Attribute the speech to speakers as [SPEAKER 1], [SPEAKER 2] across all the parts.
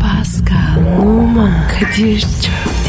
[SPEAKER 1] Pascal, Oman, Kadir çok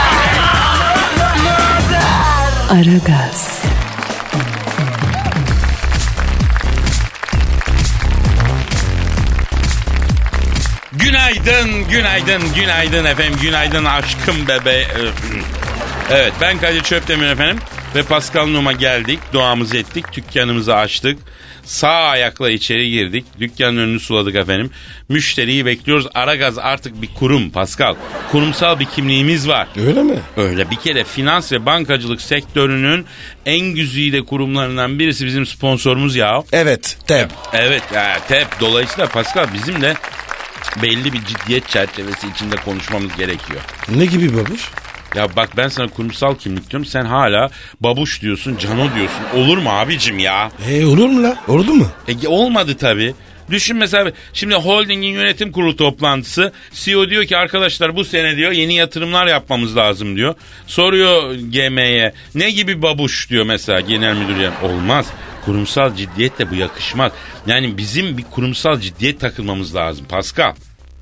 [SPEAKER 1] Aragaz,
[SPEAKER 2] Günaydın, günaydın, günaydın efendim, günaydın aşkım bebe. e, Evet ben Kadir Çöptemir efendim ve Pascal Numa geldik, duamızı ettik, dükkanımızı açtık. Sağ ayakla içeri girdik, dükkanın önünü suladık efendim. Müşteriyi bekliyoruz. Aragaz artık bir kurum Pascal. Kurumsal bir kimliğimiz var.
[SPEAKER 3] Öyle mi?
[SPEAKER 2] Öyle bir kere finans ve bankacılık sektörünün en güzide kurumlarından birisi bizim sponsorumuz ya.
[SPEAKER 3] Evet. Tep.
[SPEAKER 2] Evet ya tep dolayısıyla Pascal bizim de belli bir ciddiyet çerçevesi içinde konuşmamız gerekiyor.
[SPEAKER 3] Ne gibi babuş?
[SPEAKER 2] Ya bak ben sana kurumsal kimlik diyorum sen hala babuş diyorsun cano diyorsun olur mu abicim ya?
[SPEAKER 3] E olur mu la? Oldu mu?
[SPEAKER 2] E, olmadı tabii. Düşün mesela şimdi holdingin yönetim kurulu toplantısı CEO diyor ki arkadaşlar bu sene diyor yeni yatırımlar yapmamız lazım diyor. Soruyor GM'ye ne gibi babuş diyor mesela genel müdür yardımcısı. Olmaz kurumsal ciddiyetle bu yakışmaz. Yani bizim bir kurumsal ciddiyet takılmamız lazım Pascal.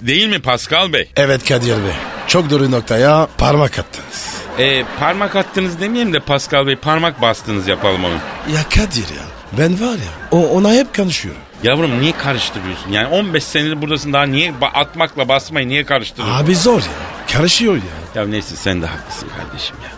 [SPEAKER 2] Değil mi Pascal Bey?
[SPEAKER 3] Evet Kadir Bey. Çok doğru noktaya parmak attınız.
[SPEAKER 2] E, parmak attınız demeyelim de Pascal Bey parmak bastınız yapalım onu.
[SPEAKER 3] Ya Kadir ya. Ben var ya. O, ona hep konuşuyorum.
[SPEAKER 2] Yavrum niye karıştırıyorsun? Yani 15 senedir buradasın daha niye ba- atmakla basmayı niye karıştırıyorsun?
[SPEAKER 3] Abi zor ya. Karışıyor ya.
[SPEAKER 2] Ya neyse sen de haklısın kardeşim ya.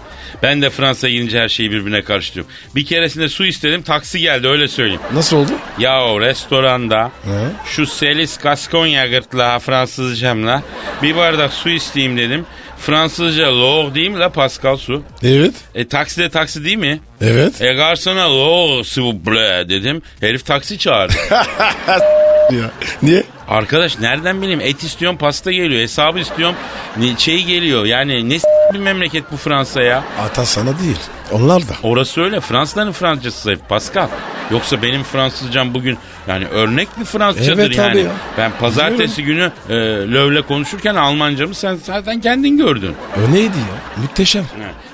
[SPEAKER 2] Ben de Fransa'ya gidince her şeyi birbirine karıştırıyorum. Bir keresinde su istedim taksi geldi öyle söyleyeyim.
[SPEAKER 3] Nasıl oldu?
[SPEAKER 2] Ya o restoranda
[SPEAKER 3] He?
[SPEAKER 2] şu Selis Gaskonya gırtlağı Fransızcamla bir bardak su isteyeyim dedim. Fransızca loğ değil mi la Pascal su?
[SPEAKER 3] Evet.
[SPEAKER 2] E taksi de taksi değil mi?
[SPEAKER 3] Evet.
[SPEAKER 2] E garsona loğ s'il vous plaît dedim. Herif taksi çağırdı.
[SPEAKER 3] E, ya. Niye?
[SPEAKER 2] Arkadaş nereden bileyim et istiyorum pasta geliyor hesabı istiyorum ne- şey geliyor yani ne s- bir memleket bu Fransa ya.
[SPEAKER 3] Ata sana değil. Onlar da.
[SPEAKER 2] Orası öyle. Fransızların Fransızcası zayıf Pascal. Yoksa benim Fransızcam bugün yani örnek bir Fransızcadır
[SPEAKER 3] Evet
[SPEAKER 2] yani.
[SPEAKER 3] abi ya.
[SPEAKER 2] Ben pazartesi günü e, Löv'le konuşurken Almancamı sen zaten kendin gördün.
[SPEAKER 3] O neydi ya? Muhteşem.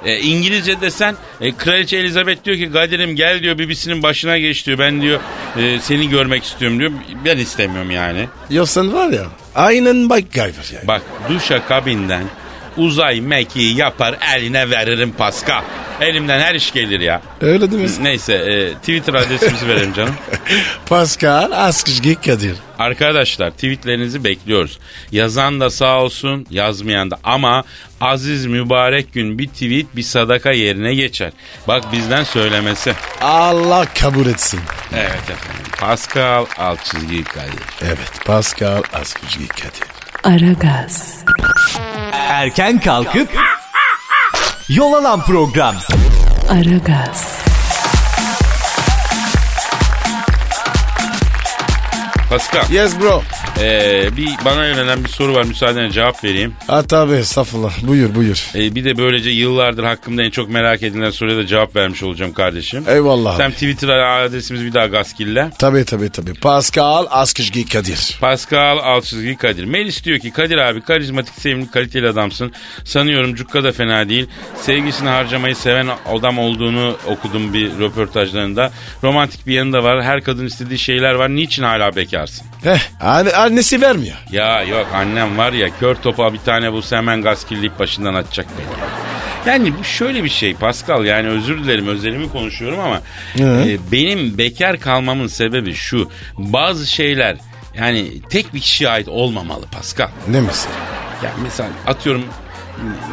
[SPEAKER 2] E, İngilizce desen e, Kraliçe Elizabeth diyor ki Kadir'im gel diyor bibisinin başına geç diyor. Ben diyor e, seni görmek istiyorum diyor. Ben istemiyorum yani.
[SPEAKER 3] Ya sen var ya. Aynen bak gayver yani.
[SPEAKER 2] Bak duşa kabinden uzay mekiği yapar eline veririm Pascal. Elimden her iş gelir ya.
[SPEAKER 3] Öyle değil mi?
[SPEAKER 2] Neyse e, Twitter adresimizi verelim canım.
[SPEAKER 3] Pascal Askışgi Kadir.
[SPEAKER 2] Arkadaşlar tweetlerinizi bekliyoruz. Yazan da sağ olsun yazmayan da ama aziz mübarek gün bir tweet bir sadaka yerine geçer. Bak bizden söylemesi.
[SPEAKER 3] Allah kabul etsin.
[SPEAKER 2] Evet efendim. Pascal alt çizgi Kadir.
[SPEAKER 3] Evet Pascal Askışgi Kadir.
[SPEAKER 1] Aragaz,
[SPEAKER 4] Erken kalkıp yol alan program.
[SPEAKER 1] Aragaz,
[SPEAKER 2] Pascal
[SPEAKER 3] Yes bro.
[SPEAKER 2] e, bir bana yönelen bir soru var müsaadenle cevap vereyim.
[SPEAKER 3] At abi estağfurullah. Buyur buyur.
[SPEAKER 2] E, bir de böylece yıllardır hakkımda en çok merak edilen soruya da cevap vermiş olacağım kardeşim.
[SPEAKER 3] Eyvallah
[SPEAKER 2] Sen
[SPEAKER 3] abi.
[SPEAKER 2] Twitter adresimiz bir daha gaskille.
[SPEAKER 3] Tabi tabi tabi. Pascal Askışgi Kadir.
[SPEAKER 2] Pascal Alçızgi Kadir. Melis diyor ki Kadir abi karizmatik sevimli kaliteli adamsın. Sanıyorum cukka da fena değil. Sevgisini harcamayı seven adam olduğunu okudum bir röportajlarında. Romantik bir yanı da var. Her kadın istediği şeyler var. Niçin hala bekarsın?
[SPEAKER 3] Heh. Anne, Hani annesi vermiyor.
[SPEAKER 2] Ya yok annem var ya kör topa bir tane bulsa hemen gaskilleyip başından atacak beni. Yani bu şöyle bir şey Pascal yani özür dilerim özelimi konuşuyorum ama
[SPEAKER 3] Hı.
[SPEAKER 2] e, benim bekar kalmamın sebebi şu bazı şeyler yani tek bir kişiye ait olmamalı Pascal.
[SPEAKER 3] Ne mesela?
[SPEAKER 2] Ya mesela atıyorum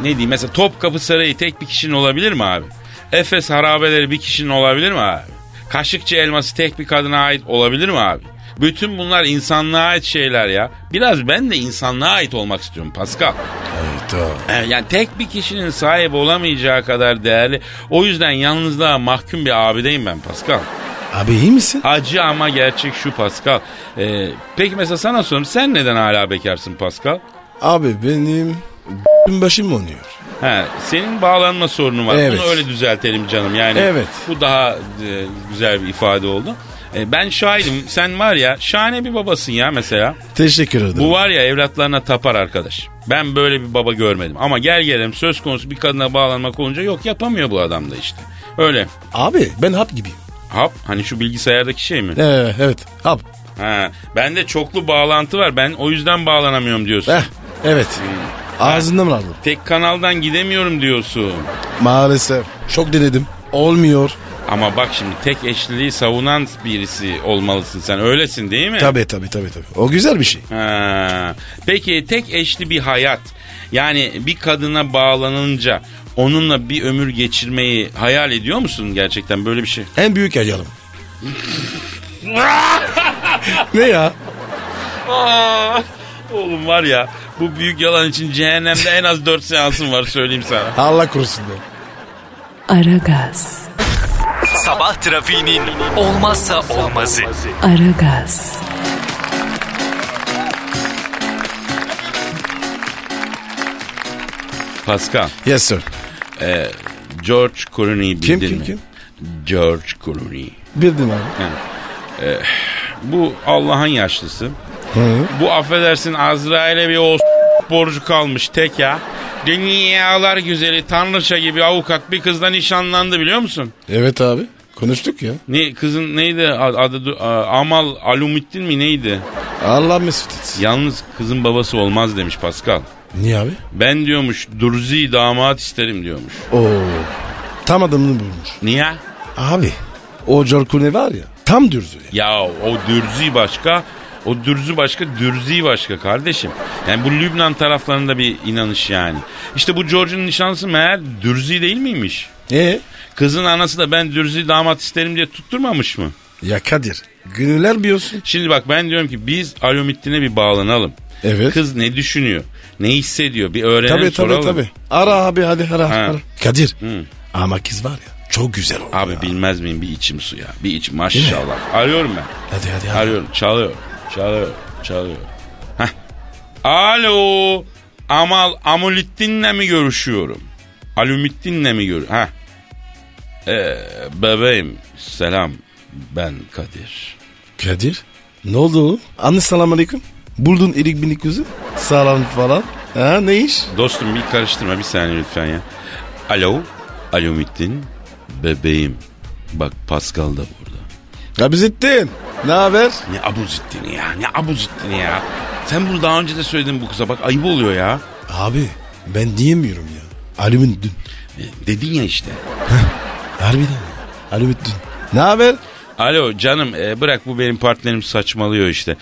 [SPEAKER 2] ne diyeyim mesela Topkapı Sarayı tek bir kişinin olabilir mi abi? Efes harabeleri bir kişinin olabilir mi abi? Kaşıkçı elması tek bir kadına ait olabilir mi abi? Bütün bunlar insanlığa ait şeyler ya. Biraz ben de insanlığa ait olmak istiyorum Pascal.
[SPEAKER 3] Hayda.
[SPEAKER 2] Ee, Yani tek bir kişinin sahip olamayacağı kadar değerli. O yüzden yalnızlığa mahkum bir abideyim ben Pascal.
[SPEAKER 3] Abi iyi misin?
[SPEAKER 2] Acı ama gerçek şu Pascal. Ee, peki mesela sana sorum sen neden hala bekarsın Pascal?
[SPEAKER 3] Abi benim başım oynuyor.
[SPEAKER 2] Ha, senin bağlanma sorunu var.
[SPEAKER 3] Evet.
[SPEAKER 2] Bunu öyle düzeltelim canım. Yani
[SPEAKER 3] Evet.
[SPEAKER 2] bu daha e, güzel bir ifade oldu. E, ben şahidim. Sen var ya şahane bir babasın ya mesela.
[SPEAKER 3] Teşekkür ederim.
[SPEAKER 2] Bu var ya evlatlarına tapar arkadaş. Ben böyle bir baba görmedim. Ama gel gelelim söz konusu bir kadına bağlanmak olunca yok yapamıyor bu adam da işte. Öyle.
[SPEAKER 3] Abi ben hap gibiyim.
[SPEAKER 2] Hap hani şu bilgisayardaki şey mi?
[SPEAKER 3] Evet, evet hap.
[SPEAKER 2] Ha, bende çoklu bağlantı var. Ben o yüzden bağlanamıyorum diyorsun.
[SPEAKER 3] Heh, evet. Ağzından aldım.
[SPEAKER 2] Tek kanaldan gidemiyorum diyorsun.
[SPEAKER 3] Maalesef. Çok denedim. Olmuyor.
[SPEAKER 2] Ama bak şimdi tek eşliliği savunan birisi olmalısın sen. Öylesin değil mi?
[SPEAKER 3] Tabii tabii tabii. tabii. O güzel bir şey.
[SPEAKER 2] Ha. Peki tek eşli bir hayat. Yani bir kadına bağlanınca onunla bir ömür geçirmeyi hayal ediyor musun gerçekten böyle bir şey?
[SPEAKER 3] En büyük ayarım. ne ya?
[SPEAKER 2] Aa, oğlum var ya bu büyük yalan için cehennemde en az 4 seansın var söyleyeyim sana.
[SPEAKER 3] Allah korusun be.
[SPEAKER 1] Aragaz,
[SPEAKER 4] Sabah trafiğinin olmazsa olmazı.
[SPEAKER 1] Aragaz,
[SPEAKER 2] Pascal,
[SPEAKER 3] Yes sir.
[SPEAKER 2] George Clooney'i
[SPEAKER 3] Kim,
[SPEAKER 2] bildin
[SPEAKER 3] kim,
[SPEAKER 2] mi?
[SPEAKER 3] kim?
[SPEAKER 2] George Clooney.
[SPEAKER 3] Bildim abi.
[SPEAKER 2] Bu Allah'ın yaşlısı. Bu affedersin Azrail'e bir o s- borcu kalmış tek ya. Dünyalar güzeli tanrıça gibi avukat bir kızla nişanlandı biliyor musun?
[SPEAKER 3] Evet abi. Konuştuk ya.
[SPEAKER 2] Ne kızın neydi ad- adı a- Amal Alumittin mi neydi?
[SPEAKER 3] Allah mesut etsin.
[SPEAKER 2] Yalnız kızın babası olmaz demiş Pascal.
[SPEAKER 3] Niye abi?
[SPEAKER 2] Ben diyormuş Durzi damat isterim diyormuş.
[SPEAKER 3] Oo. Tam adamını bulmuş.
[SPEAKER 2] Niye?
[SPEAKER 3] Abi. O Corkune var ya. Tam dürzü. ya.
[SPEAKER 2] Ya o Dürzi başka, o Dürzü başka, Dürzi başka kardeşim. Yani bu Lübnan taraflarında bir inanış yani. İşte bu George'un nişanlısı meğer Dürzi değil miymiş?
[SPEAKER 3] E
[SPEAKER 2] Kızın anası da ben Dürzi damat isterim diye tutturmamış mı?
[SPEAKER 3] Ya Kadir. Günler biliyorsun.
[SPEAKER 2] Şimdi bak ben diyorum ki biz Alumittin'e bir bağlanalım.
[SPEAKER 3] Evet.
[SPEAKER 2] Kız ne düşünüyor? Ne hissediyor? Bir öğrenelim
[SPEAKER 3] Tabii tabii
[SPEAKER 2] Ee, soralım.
[SPEAKER 3] tabii. Ara abi hadi ara.
[SPEAKER 2] Ha.
[SPEAKER 3] ara. Kadir. Ama kız var ya. Çok güzel oldu
[SPEAKER 2] Abi
[SPEAKER 3] ya.
[SPEAKER 2] bilmez miyim bir içim su ya. Bir içim maşallah. Arıyorum ben.
[SPEAKER 3] Hadi hadi hadi.
[SPEAKER 2] Arıyorum. Çalıyor. Çalıyor. Çalıyor. Heh. Alo. Amal Amulittin'le mi görüşüyorum? Alumittin'le mi görüş? Ha. Ee, bebeğim selam. Ben Kadir.
[SPEAKER 3] Kadir. Ne oldu oğlum? Anne selamun aleyküm. Buldun erik binik yüzü. Sağlam falan. Ha ne iş?
[SPEAKER 2] Dostum bir karıştırma bir saniye lütfen ya. Alo. Alumittin. Bebeğim. Bak Pascal da burada.
[SPEAKER 3] Gabizettin. Ne haber?
[SPEAKER 2] Ne abuzittini ya. Ne abuzittini ya. Sen bunu daha önce de söyledin bu kıza. Bak ayıp oluyor ya.
[SPEAKER 3] Abi ben diyemiyorum ya. Alümün dün.
[SPEAKER 2] E, Dedin ya işte.
[SPEAKER 3] Harbiden mi? Alümün dün. Ne haber?
[SPEAKER 2] Alo canım e, bırak bu benim partnerim saçmalıyor işte.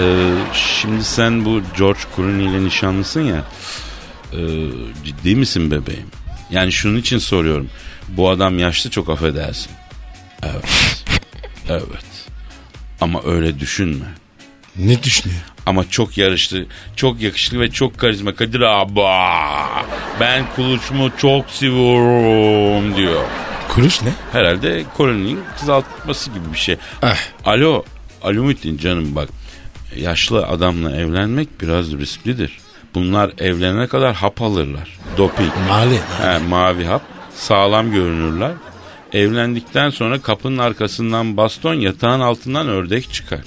[SPEAKER 2] E, şimdi sen bu George Clooney ile nişanlısın ya. E, ciddi misin bebeğim? Yani şunun için soruyorum. Bu adam yaşlı çok affedersin. Evet. Evet. Ama öyle düşünme.
[SPEAKER 3] Ne düşünüyor?
[SPEAKER 2] Ama çok yarışlı, çok yakışıklı ve çok karizma. Kadir abba ben kuluçumu çok seviyorum diyor.
[SPEAKER 3] Kuruş ne?
[SPEAKER 2] Herhalde koloninin kızaltması gibi bir şey.
[SPEAKER 3] Eh.
[SPEAKER 2] Alo, Alumitin canım bak. Yaşlı adamla evlenmek biraz risklidir. Bunlar evlenene kadar hap alırlar. Doping.
[SPEAKER 3] Mali.
[SPEAKER 2] He, mavi hap. Sağlam görünürler. Evlendikten sonra kapının arkasından baston, yatağın altından ördek çıkar.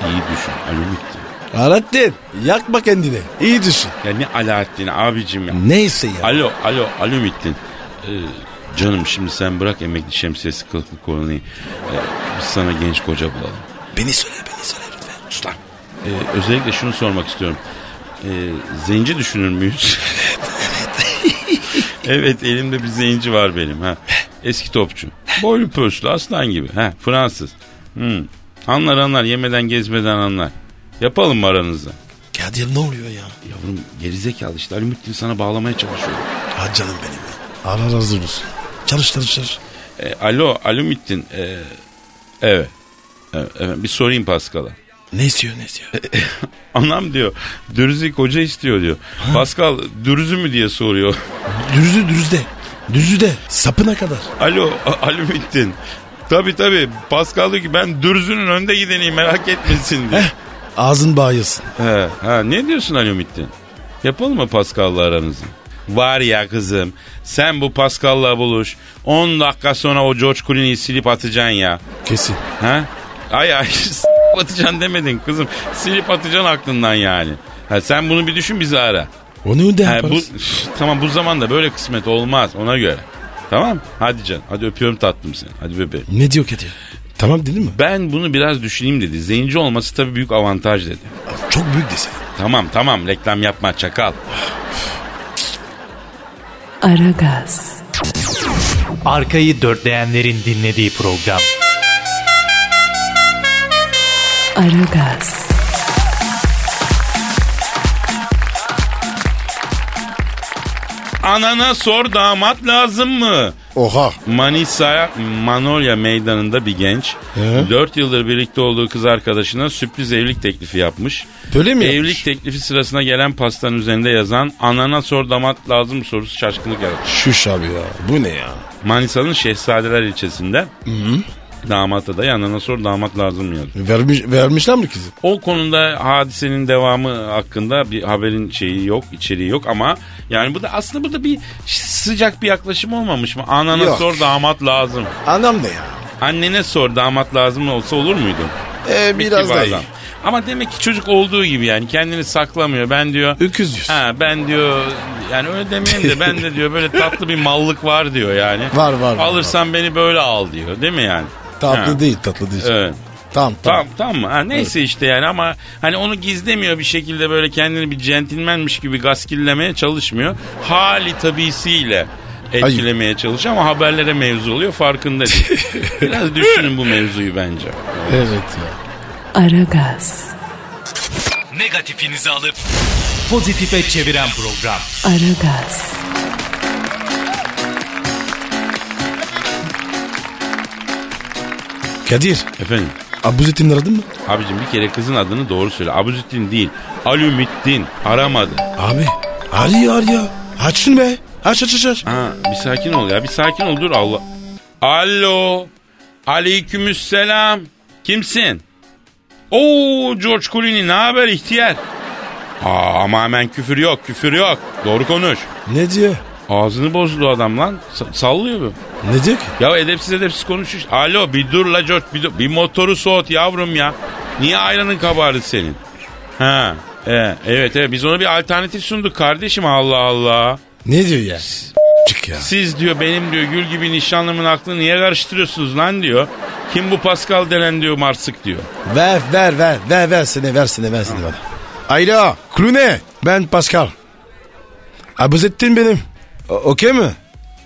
[SPEAKER 2] İyi düşün Alumitin.
[SPEAKER 3] Alaaddin yakma kendini. İyi düşün.
[SPEAKER 2] Ya ne Alaaddin abicim ya.
[SPEAKER 3] Neyse ya.
[SPEAKER 2] Alo, alo, alo Mittin. Ee, canım şimdi sen bırak emekli şemsiyesi kılıklı konuyu. Ee, biz sana genç koca bulalım.
[SPEAKER 3] beni söyle beni söyle lütfen.
[SPEAKER 2] Sus lan. Ee, özellikle şunu sormak istiyorum. Ee, zenci düşünür müyüz? evet, elimde bir zenci var benim. ha. Eski topçu. Boylu pöslü aslan gibi. Ha, Fransız. Hmm. Anlar anlar yemeden gezmeden anlar. Yapalım mı aranızda?
[SPEAKER 3] Kadir ne oluyor ya?
[SPEAKER 2] Yavrum gerizekalı işte. Ali Muhittin sana bağlamaya çalışıyor.
[SPEAKER 3] Ha canım benim ya. Allah razı olsun. Çalış çalış çalış.
[SPEAKER 2] E, alo, Alumittin. E, evet. Evet, evet. Bir sorayım Pascal'a.
[SPEAKER 3] Ne istiyor ne istiyor? E,
[SPEAKER 2] Anam diyor, dürüzü koca istiyor diyor. Pascal, dürüzü mü diye soruyor.
[SPEAKER 3] Düzü düzde. Düzü de sapına kadar.
[SPEAKER 2] alo, A- Alumittin. Tabi tabi. Pascal diyor ki ben dürüzünün önde gideneyim merak etmesin diyor.
[SPEAKER 3] Ağzın bağıyasın.
[SPEAKER 2] He, ha, ne diyorsun Alumittin? Yapalım mı Pascal'la aranızı? Var ya kızım sen bu Pascal'la buluş. 10 dakika sonra o George Clooney'i silip atacaksın ya.
[SPEAKER 3] Kesin.
[SPEAKER 2] Ha? Ay ay s- atacaksın demedin kızım. Silip atacaksın aklından yani. Ha, sen bunu bir düşün bizi ara.
[SPEAKER 3] Onu da
[SPEAKER 2] Ha, bu,
[SPEAKER 3] yaparız.
[SPEAKER 2] Üf, tamam bu zamanda böyle kısmet olmaz ona göre. Tamam hadi can hadi öpüyorum tatlım seni hadi bebeğim.
[SPEAKER 3] Ne diyor ki diyor? Tamam dedin mi?
[SPEAKER 2] Ben bunu biraz düşüneyim dedi. Zenci olması tabii büyük avantaj dedi.
[SPEAKER 3] Çok büyük desen.
[SPEAKER 2] Tamam tamam reklam yapma çakal.
[SPEAKER 1] Aragaz,
[SPEAKER 5] Arkayı dörtleyenlerin dinlediği program.
[SPEAKER 1] Aragaz,
[SPEAKER 2] Anana sor damat lazım mı?
[SPEAKER 3] Oha.
[SPEAKER 2] Manisa Manolya meydanında bir genç
[SPEAKER 3] He?
[SPEAKER 2] 4 yıldır birlikte olduğu kız arkadaşına sürpriz evlilik teklifi yapmış.
[SPEAKER 3] Böyle mi
[SPEAKER 2] Evlilik
[SPEAKER 3] yapmış?
[SPEAKER 2] teklifi sırasına gelen pastanın üzerinde yazan anana sor damat lazım mı sorusu şaşkınlık yaratmış.
[SPEAKER 3] Şuş abi ya. Bu ne ya?
[SPEAKER 2] Manisa'nın Şehzadeler ilçesinde damat adayı anana sor damat lazım mı yazıyor.
[SPEAKER 3] Vermiş, vermişler mi kızı?
[SPEAKER 2] O konuda hadisenin devamı hakkında bir haberin şeyi yok, içeriği yok ama yani bu da aslında bu da bir sıcak bir yaklaşım olmamış mı? Anana
[SPEAKER 3] Yok.
[SPEAKER 2] sor damat lazım.
[SPEAKER 3] Anam ne ya?
[SPEAKER 2] Annene sor damat lazım olsa olur muydu?
[SPEAKER 3] Ee,
[SPEAKER 2] Bir
[SPEAKER 3] biraz
[SPEAKER 2] kibar
[SPEAKER 3] daha
[SPEAKER 2] adam.
[SPEAKER 3] iyi.
[SPEAKER 2] Ama demek ki çocuk olduğu gibi yani kendini saklamıyor. Ben diyor
[SPEAKER 3] Öküz yüz.
[SPEAKER 2] ha ben diyor yani öyle demeyeyim de ben de diyor böyle tatlı bir mallık var diyor yani.
[SPEAKER 3] Var, var, var,
[SPEAKER 2] Alırsan beni böyle al diyor değil mi yani?
[SPEAKER 3] Tatlı
[SPEAKER 2] Ha,
[SPEAKER 3] değil tatlı değil.
[SPEAKER 2] Evet.
[SPEAKER 3] Tamam
[SPEAKER 2] Tamam
[SPEAKER 3] tamam.
[SPEAKER 2] tamam mı? Ha, neyse işte yani ama hani onu gizlemiyor bir şekilde böyle kendini bir centilmenmiş gibi gaskillemeye çalışmıyor. Hali tabisiyle etkilemeye çalışıyor ama haberlere mevzu oluyor farkında değil. Biraz düşünün bu mevzuyu bence.
[SPEAKER 3] Evet ya.
[SPEAKER 1] Aragaz,
[SPEAKER 4] Negatifinizi alıp
[SPEAKER 5] Pozitife çeviren program.
[SPEAKER 1] Aragaz,
[SPEAKER 3] Kadir.
[SPEAKER 2] Efendim
[SPEAKER 3] Abuzettin aradın mı?
[SPEAKER 2] abicim bir kere kızın adını doğru söyle. Abuzittin değil. Alümittin aramadı.
[SPEAKER 3] Abi. Arıyor arıyor. Aç şunu be. Aç aç aç aç.
[SPEAKER 2] Ha, bir sakin ol ya bir sakin ol dur Allah. Alo. Aleykümselam. Kimsin? Oo George Clooney ne haber ihtiyar? Aa, ama hemen küfür yok küfür yok. Doğru konuş.
[SPEAKER 3] Ne diyor?
[SPEAKER 2] Ağzını bozdu adam lan. Sa- sallıyor bu.
[SPEAKER 3] Ne diyor ki?
[SPEAKER 2] Ya edepsiz edepsiz konuşuyor. Alo bir dur la George bir, dur. bir motoru soğut yavrum ya. Niye ayranın kabardı senin? Ha. e, evet evet biz ona bir alternatif sunduk kardeşim Allah Allah.
[SPEAKER 3] Ne diyor ya? Çık ya.
[SPEAKER 2] Siz diyor benim diyor gül gibi nişanlımın aklını niye karıştırıyorsunuz lan diyor. Kim bu Pascal denen diyor Marsık diyor.
[SPEAKER 3] Ver ver ver ver versene versene versene bana. Alo Klune ben Pascal. Abuzettin benim. O- Okey mi?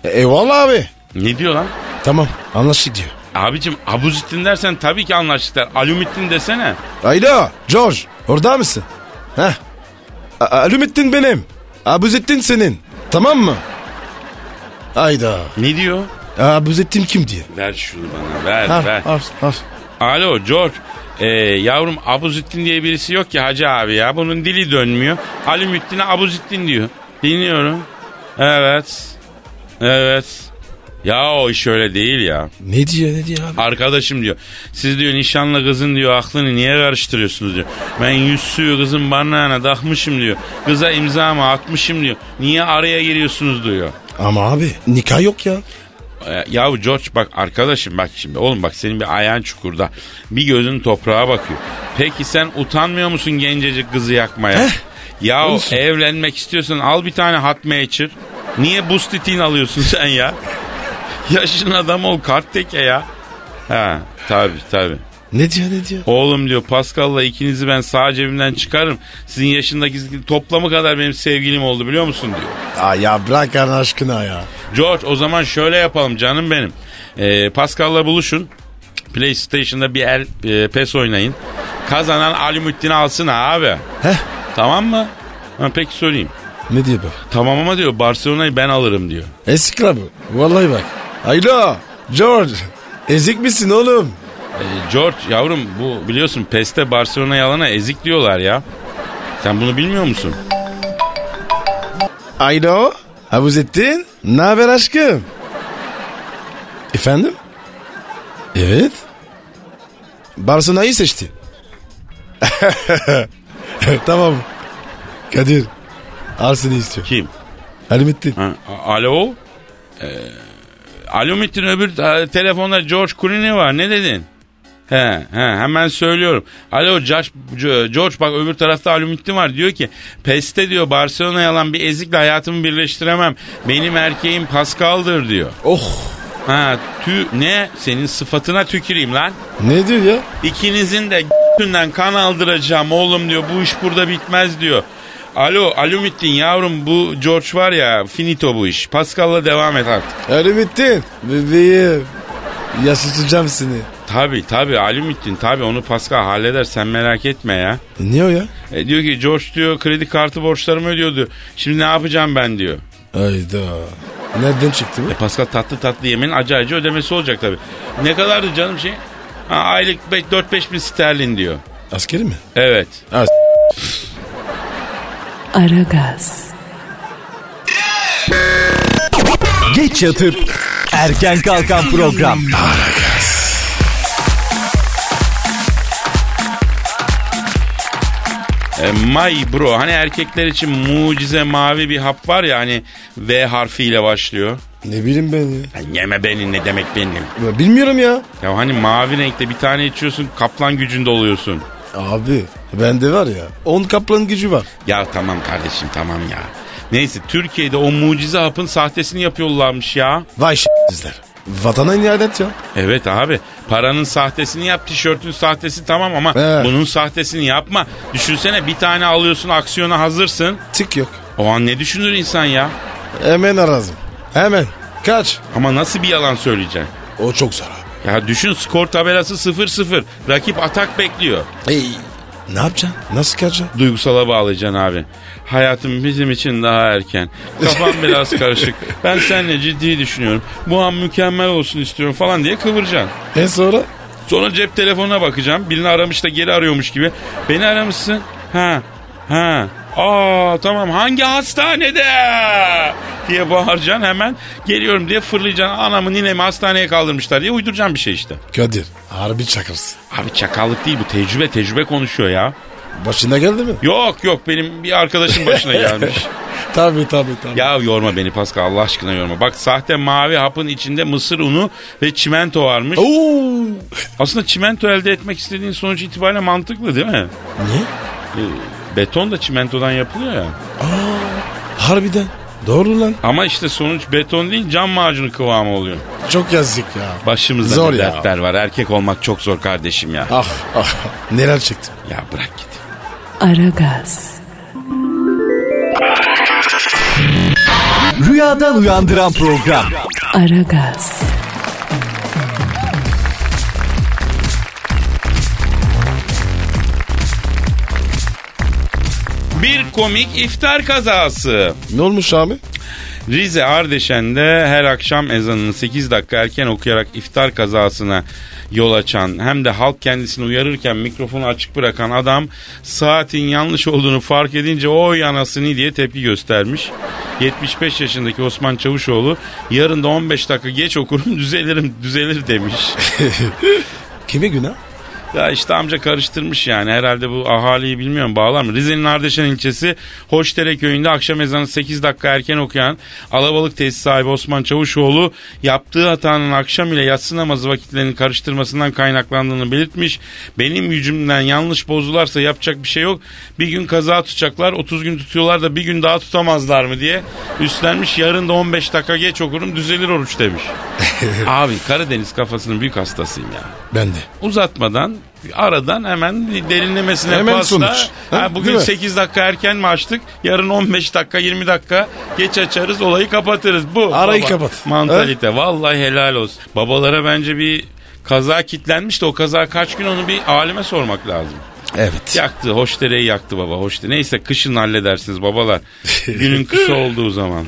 [SPEAKER 3] E, eyvallah abi.
[SPEAKER 2] Ne diyor lan?
[SPEAKER 3] Tamam anlaştık diyor.
[SPEAKER 2] Abicim Abuzittin dersen tabii ki anlaştıklar. Alümittin desene.
[SPEAKER 3] Alo George orada mısın? Heh. A- Alumettin benim. Abuzettin senin. Tamam mı? Ayda.
[SPEAKER 2] Ne diyor?
[SPEAKER 3] Abuzettin kim diye.
[SPEAKER 2] Ver şunu bana ver
[SPEAKER 3] Al
[SPEAKER 2] ver.
[SPEAKER 3] al al.
[SPEAKER 2] Alo George. Ee, yavrum Abuzittin diye birisi yok ki hacı abi ya. Bunun dili dönmüyor. Alümittin'e Abuzittin diyor. Dinliyorum. Evet. Evet. Ya o iş öyle değil ya.
[SPEAKER 3] Ne diyor ne diyor abi?
[SPEAKER 2] Arkadaşım diyor siz diyor nişanlı kızın diyor aklını niye karıştırıyorsunuz diyor. Ben yüzsüyü kızın barnağına takmışım diyor. Kıza imzamı atmışım diyor. Niye araya giriyorsunuz diyor.
[SPEAKER 3] Ama abi nikah yok ya.
[SPEAKER 2] E, Yahu George bak arkadaşım bak şimdi oğlum bak senin bir ayağın çukurda. Bir gözün toprağa bakıyor. Peki sen utanmıyor musun gencecik kızı yakmaya?
[SPEAKER 3] Heh,
[SPEAKER 2] Yahu
[SPEAKER 3] olsun.
[SPEAKER 2] evlenmek istiyorsan al bir tane hot matcher. Niye buz titiğini alıyorsun sen ya? Yaşın adam ol kart teke ya. Ha tabi tabi.
[SPEAKER 3] Ne diyor ne diyor?
[SPEAKER 2] Oğlum diyor Pascal'la ikinizi ben sağ cebimden çıkarım. Sizin yaşındaki toplamı kadar benim sevgilim oldu biliyor musun diyor.
[SPEAKER 3] Aa, ya bırak Allah aşkına ya.
[SPEAKER 2] George o zaman şöyle yapalım canım benim. Ee, Pascal'la buluşun. PlayStation'da bir el e, PES oynayın. Kazanan Ali Muhittin'i alsın abi.
[SPEAKER 3] Heh
[SPEAKER 2] Tamam mı? Ha, peki söyleyeyim.
[SPEAKER 3] ne diyor bu?
[SPEAKER 2] Tamam ama diyor Barcelona'yı ben alırım diyor.
[SPEAKER 3] Ezik la bu. Vallahi bak. Alo George. Ezik misin oğlum?
[SPEAKER 2] Ee, George yavrum bu biliyorsun PES'te Barcelona'yı alana ezik diyorlar ya. Sen bunu bilmiyor musun?
[SPEAKER 3] Alo. Abuzettin. Ne haber aşkım? Efendim? Evet. Barcelona'yı seçti. tamam. Kadir. Al seni istiyor.
[SPEAKER 2] Kim?
[SPEAKER 3] Ali Metin.
[SPEAKER 2] Ha, a- alo? Ee, alo Metin öbür e, telefonda George Clooney var ne dedin? He, he hemen söylüyorum. Alo Josh- Jo- George bak öbür tarafta alümitti var diyor ki Peste diyor Barcelona yalan bir ezikle hayatımı birleştiremem. Benim erkeğim Pascal'dır diyor.
[SPEAKER 3] Oh.
[SPEAKER 2] Ha tü ne senin sıfatına tüküreyim lan.
[SPEAKER 3] Ne diyor ya?
[SPEAKER 2] İkinizin de g***ünden kan aldıracağım oğlum diyor. Bu iş burada bitmez diyor. Alo Alumittin yavrum bu George var ya finito bu iş. Pascal'la devam et artık.
[SPEAKER 3] Ali Metin. Bebeğim. Yaşatacağım seni.
[SPEAKER 2] Tabi tabi Alumittin tabi onu Pascal halleder sen merak etme ya.
[SPEAKER 3] Niye o ya?
[SPEAKER 2] E, diyor ki George diyor kredi kartı borçlarımı ödüyordu. Şimdi ne yapacağım ben diyor.
[SPEAKER 3] Hayda. Nereden çıktı bu?
[SPEAKER 2] E, Pascal tatlı tatlı yemenin acı acı ödemesi olacak tabi. Ne kadardı canım şey? Ha, aylık 4-5 bin sterlin diyor.
[SPEAKER 3] Askeri mi?
[SPEAKER 2] Evet.
[SPEAKER 3] Ha, s-
[SPEAKER 1] Aragaz,
[SPEAKER 5] Geç yatıp erken kalkan program.
[SPEAKER 2] E, my bro hani erkekler için mucize mavi bir hap var ya hani V harfiyle başlıyor.
[SPEAKER 3] Ne bileyim ben ya.
[SPEAKER 2] Ya yeme beni ne demek benim.
[SPEAKER 3] Ya Bilmiyorum ya.
[SPEAKER 2] Ya hani mavi renkte bir tane içiyorsun kaplan gücünde oluyorsun.
[SPEAKER 3] Abi bende var ya 10 kaplan gücü var.
[SPEAKER 2] Ya tamam kardeşim tamam ya. Neyse Türkiye'de o mucize hapın sahtesini yapıyorlarmış ya.
[SPEAKER 3] Vay sizler. Vatana ihanet ya.
[SPEAKER 2] Evet abi paranın sahtesini yap tişörtün sahtesi tamam ama
[SPEAKER 3] He.
[SPEAKER 2] bunun sahtesini yapma. Düşünsene bir tane alıyorsun aksiyona hazırsın.
[SPEAKER 3] Tik yok.
[SPEAKER 2] O an ne düşünür insan ya?
[SPEAKER 3] Hemen arazım. Hemen. Kaç.
[SPEAKER 2] Ama nasıl bir yalan söyleyeceksin?
[SPEAKER 3] O çok zor abi.
[SPEAKER 2] Ya düşün skor tabelası 0-0. Rakip atak bekliyor.
[SPEAKER 3] Ey, Ne yapacaksın? Nasıl kaçacaksın?
[SPEAKER 2] Duygusala bağlayacaksın abi. Hayatım bizim için daha erken. Kafam biraz karışık. Ben seninle ciddi düşünüyorum. Bu an mükemmel olsun istiyorum falan diye kıvıracaksın.
[SPEAKER 3] En sonra?
[SPEAKER 2] Sonra cep telefonuna bakacağım. Birini aramış da geri arıyormuş gibi. Beni aramışsın. Ha. Ha. Aa tamam hangi hastanede diye bağıracaksın hemen geliyorum diye fırlayacaksın. Anamı ninemi hastaneye kaldırmışlar diye uyduracaksın bir şey işte.
[SPEAKER 3] Kadir. Harbi çakırsın.
[SPEAKER 2] Abi çakallık değil bu tecrübe tecrübe konuşuyor ya.
[SPEAKER 3] Başına geldi mi?
[SPEAKER 2] Yok yok benim bir arkadaşım başına gelmiş.
[SPEAKER 3] Tabii tabii tabii.
[SPEAKER 2] ya yorma beni Pascal Allah aşkına yorma. Bak sahte mavi hapın içinde mısır unu ve çimento varmış.
[SPEAKER 3] Oo.
[SPEAKER 2] Aslında çimento elde etmek istediğin sonuç itibariyle mantıklı değil mi?
[SPEAKER 3] Ne?
[SPEAKER 2] E, beton da çimentodan yapılıyor ya.
[SPEAKER 3] Harbiden. Doğru lan.
[SPEAKER 2] Ama işte sonuç beton değil cam macunu kıvamı oluyor.
[SPEAKER 3] Çok yazık ya.
[SPEAKER 2] Başımızda
[SPEAKER 3] Zor
[SPEAKER 2] ne
[SPEAKER 3] ya.
[SPEAKER 2] dertler var. Erkek olmak çok zor kardeşim ya.
[SPEAKER 3] Ah ah. Neler çektim.
[SPEAKER 2] Ya bırak git.
[SPEAKER 1] Aragaz,
[SPEAKER 5] Rüyadan uyandıran program.
[SPEAKER 1] Aragaz,
[SPEAKER 2] Bir komik iftar kazası.
[SPEAKER 3] Ne olmuş abi?
[SPEAKER 2] Rize Ardeşen'de her akşam ezanını 8 dakika erken okuyarak iftar kazasına yol açan hem de halk kendisini uyarırken mikrofonu açık bırakan adam saatin yanlış olduğunu fark edince o yanasını diye tepki göstermiş. 75 yaşındaki Osman Çavuşoğlu yarın da 15 dakika geç okurum düzelirim düzelir demiş.
[SPEAKER 3] Kime günah?
[SPEAKER 2] Ya işte amca karıştırmış yani. Herhalde bu ahaliyi bilmiyorum bağlar mı? Rize'nin Ardeşen ilçesi Hoşdere köyünde akşam ezanı 8 dakika erken okuyan alabalık tesis sahibi Osman Çavuşoğlu yaptığı hatanın akşam ile yatsı namazı vakitlerini karıştırmasından kaynaklandığını belirtmiş. Benim gücümden yanlış bozularsa yapacak bir şey yok. Bir gün kaza tutacaklar 30 gün tutuyorlar da bir gün daha tutamazlar mı diye üstlenmiş. Yarın da 15 dakika geç okurum düzelir oruç demiş. Abi Karadeniz kafasının büyük hastasıyım ya
[SPEAKER 3] Ben de.
[SPEAKER 2] uzatmadan aradan hemen derinlemesine
[SPEAKER 3] Hemen
[SPEAKER 2] pasta.
[SPEAKER 3] sonuç.
[SPEAKER 2] Ha,
[SPEAKER 3] Ha, değil
[SPEAKER 2] bugün
[SPEAKER 3] mi?
[SPEAKER 2] 8 dakika erken mi açtık? Yarın 15 dakika 20 dakika geç açarız olayı kapatırız. Bu.
[SPEAKER 3] Arayı kapat.
[SPEAKER 2] Mantalite. Vallahi helal olsun. Babalara bence bir kaza kitlenmiş de o kaza kaç gün onu bir alime sormak lazım.
[SPEAKER 3] Evet.
[SPEAKER 2] Yaktı. Hoşdereyi yaktı baba. Hoşdere. Neyse kışın halledersiniz babalar. Günün kısa olduğu zaman.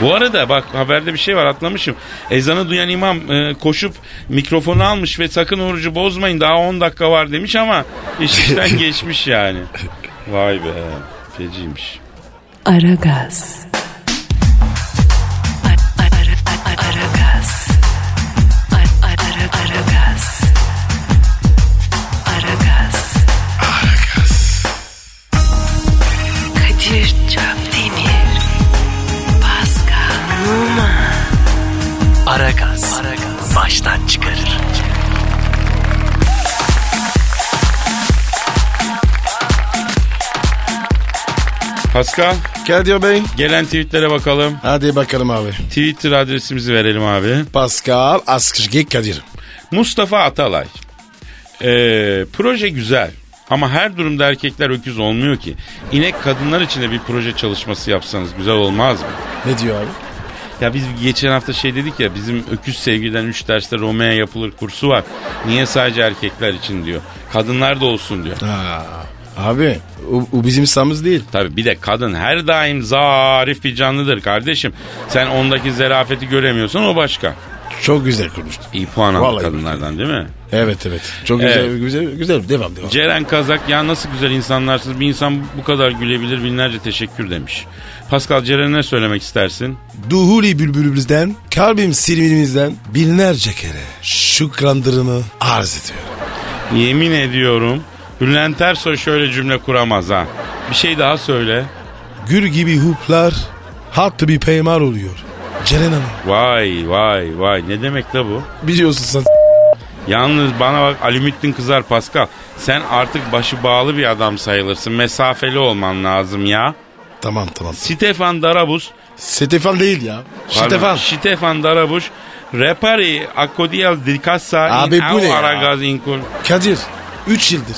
[SPEAKER 2] Bu arada bak haberde bir şey var atlamışım. Ezanı duyan imam e, koşup mikrofonu almış ve sakın orucu bozmayın daha 10 dakika var demiş ama iş işten geçmiş yani. Vay be feciymiş.
[SPEAKER 1] Aragaz. Ar- ar- ar- ar- Aragaz. Ar- ar- ar- Aragaz. Aragaz. Kadir Çöpdemir. Pas- Aragaz. Baştan çıkarır.
[SPEAKER 2] Pascal
[SPEAKER 3] Kadir Bey.
[SPEAKER 2] gelen tweetlere bakalım.
[SPEAKER 3] Hadi bakalım abi.
[SPEAKER 2] Twitter adresimizi verelim abi.
[SPEAKER 3] Pascal Askışgi Kadir.
[SPEAKER 2] Mustafa Atalay. Ee, proje güzel ama her durumda erkekler öküz olmuyor ki. İnek kadınlar için de bir proje çalışması yapsanız güzel olmaz mı?
[SPEAKER 3] Ne diyor abi?
[SPEAKER 2] Ya biz geçen hafta şey dedik ya bizim öküz sevgiden 3 derste Roma'ya yapılır kursu var. Niye sadece erkekler için diyor. Kadınlar da olsun diyor.
[SPEAKER 3] Aa, abi o, o bizim samız değil.
[SPEAKER 2] Tabii bir de kadın her daim zarif bir canlıdır kardeşim. Sen ondaki zerafeti göremiyorsan o başka.
[SPEAKER 3] Çok güzel konuştun.
[SPEAKER 2] İyi puan aldı
[SPEAKER 3] Vallahi
[SPEAKER 2] kadınlardan değil mi?
[SPEAKER 3] Evet evet. Çok güzel
[SPEAKER 2] Evet.
[SPEAKER 3] güzel güzel devam devam.
[SPEAKER 2] Ceren Kazak ya nasıl güzel insanlarsınız bir insan bu kadar gülebilir binlerce teşekkür demiş. Pascal Ceren'e ne söylemek istersin?
[SPEAKER 3] Duhuli bülbülümüzden, kalbim sirvinimizden binlerce kere şükranlarımı arz ediyorum.
[SPEAKER 2] Yemin ediyorum Bülent Ersoy şöyle cümle kuramaz ha. Bir şey daha söyle.
[SPEAKER 3] Gül gibi huplar hattı bir peymar oluyor. Ceren Hanım.
[SPEAKER 2] Vay vay vay ne demek la bu?
[SPEAKER 3] Biliyorsun sen.
[SPEAKER 2] Yalnız bana bak Alimittin kızar Pascal. Sen artık başı bağlı bir adam sayılırsın. Mesafeli olman lazım ya.
[SPEAKER 3] Tamam tamam.
[SPEAKER 2] Stefan Darabus.
[SPEAKER 3] Stefan değil ya.
[SPEAKER 2] Pardon,
[SPEAKER 3] Stefan.
[SPEAKER 2] Stefan Darabus. Repari Akodial di Casa
[SPEAKER 3] Abi
[SPEAKER 2] in
[SPEAKER 3] bu
[SPEAKER 2] au
[SPEAKER 3] ne ya?
[SPEAKER 2] Aragaz Incul.
[SPEAKER 3] Kadir. 3 yıldır.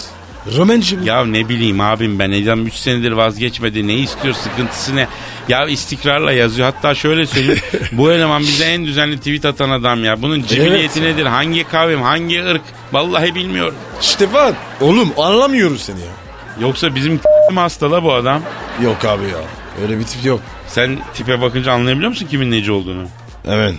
[SPEAKER 3] Romenci mi?
[SPEAKER 2] Ya ne bileyim abim ben adam 3 senedir vazgeçmedi. Ne istiyor sıkıntısı ne? Ya istikrarla yazıyor. Hatta şöyle söyleyeyim. bu eleman bize en düzenli tweet atan adam ya. Bunun cibiliyeti nedir? Hangi kavim? Hangi ırk? Vallahi bilmiyorum.
[SPEAKER 3] Stefan. Oğlum anlamıyoruz seni ya.
[SPEAKER 2] Yoksa bizim mi hastala bu adam?
[SPEAKER 3] Yok abi ya. Öyle bir tip yok.
[SPEAKER 2] Sen tipe bakınca anlayabiliyor musun kimin neci olduğunu?
[SPEAKER 3] Evet.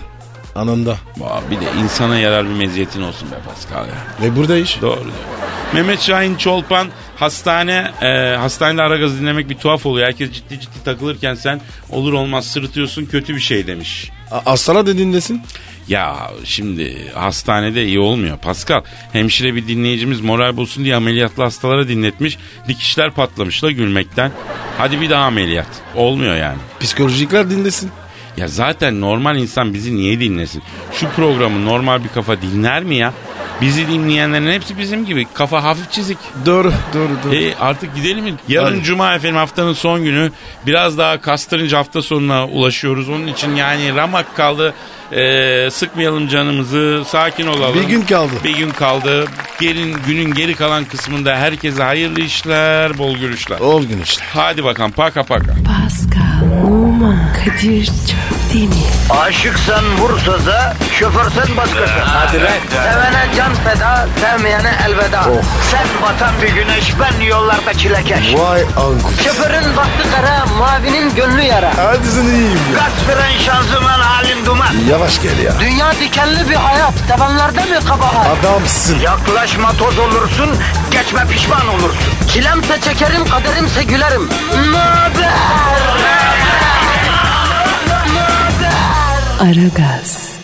[SPEAKER 3] Anında.
[SPEAKER 2] Aa, bir de insana yarar bir meziyetin olsun be Pascal ya.
[SPEAKER 3] Ve burada iş.
[SPEAKER 2] Doğru diyor. Mehmet Şahin Çolpan hastane e, hastanede ara gazı dinlemek bir tuhaf oluyor. Herkes ciddi ciddi takılırken sen olur olmaz sırıtıyorsun kötü bir şey demiş.
[SPEAKER 3] A- Aslan'a dediğindesin.
[SPEAKER 2] Ya şimdi hastanede iyi olmuyor Pascal. Hemşire bir dinleyicimiz moral bulsun diye ameliyatlı hastalara dinletmiş. Dikişler patlamış da gülmekten. Hadi bir daha ameliyat. Olmuyor yani.
[SPEAKER 3] Psikolojikler dinlesin.
[SPEAKER 2] Ya zaten normal insan bizi niye dinlesin? Şu programı normal bir kafa dinler mi ya? Bizi dinleyenlerin hepsi bizim gibi. Kafa hafif çizik.
[SPEAKER 3] Doğru doğru doğru.
[SPEAKER 2] E artık gidelim mi? Yarın
[SPEAKER 3] Hadi.
[SPEAKER 2] cuma efendim haftanın son günü. Biraz daha kastırınca hafta sonuna ulaşıyoruz. Onun için yani ramak kaldı. E, sıkmayalım canımızı. Sakin olalım.
[SPEAKER 3] Bir gün kaldı.
[SPEAKER 2] Bir gün kaldı. Gelin günün geri kalan kısmında herkese hayırlı işler, bol görüşler.
[SPEAKER 3] Ol gün işte.
[SPEAKER 2] Hadi bakalım paka paka.
[SPEAKER 1] Pascal, Oman, Kadir çok değil mi?
[SPEAKER 6] Aşıksan vursa da, şoförsen başkasın. Hadi Sevene can feda, sevmeyene elveda. Sen batan bir güneş, ben yollarda çilekeş.
[SPEAKER 3] Vay anku.
[SPEAKER 6] Şoförün baktı kara, mavinin gönlü yara.
[SPEAKER 3] Hadi sen iyiyim ya.
[SPEAKER 6] Kasperen şanzıman halin duman.
[SPEAKER 3] Yavaş gel ya.
[SPEAKER 6] Dünya dikenli bir hayat, sevenlerde mi kabahar?
[SPEAKER 3] Adamsın.
[SPEAKER 6] Yaklaşma toz olursun, geçme pişman olursun. Çilemse çekerim, kaderimse gülerim. Möber!
[SPEAKER 1] Aragaz.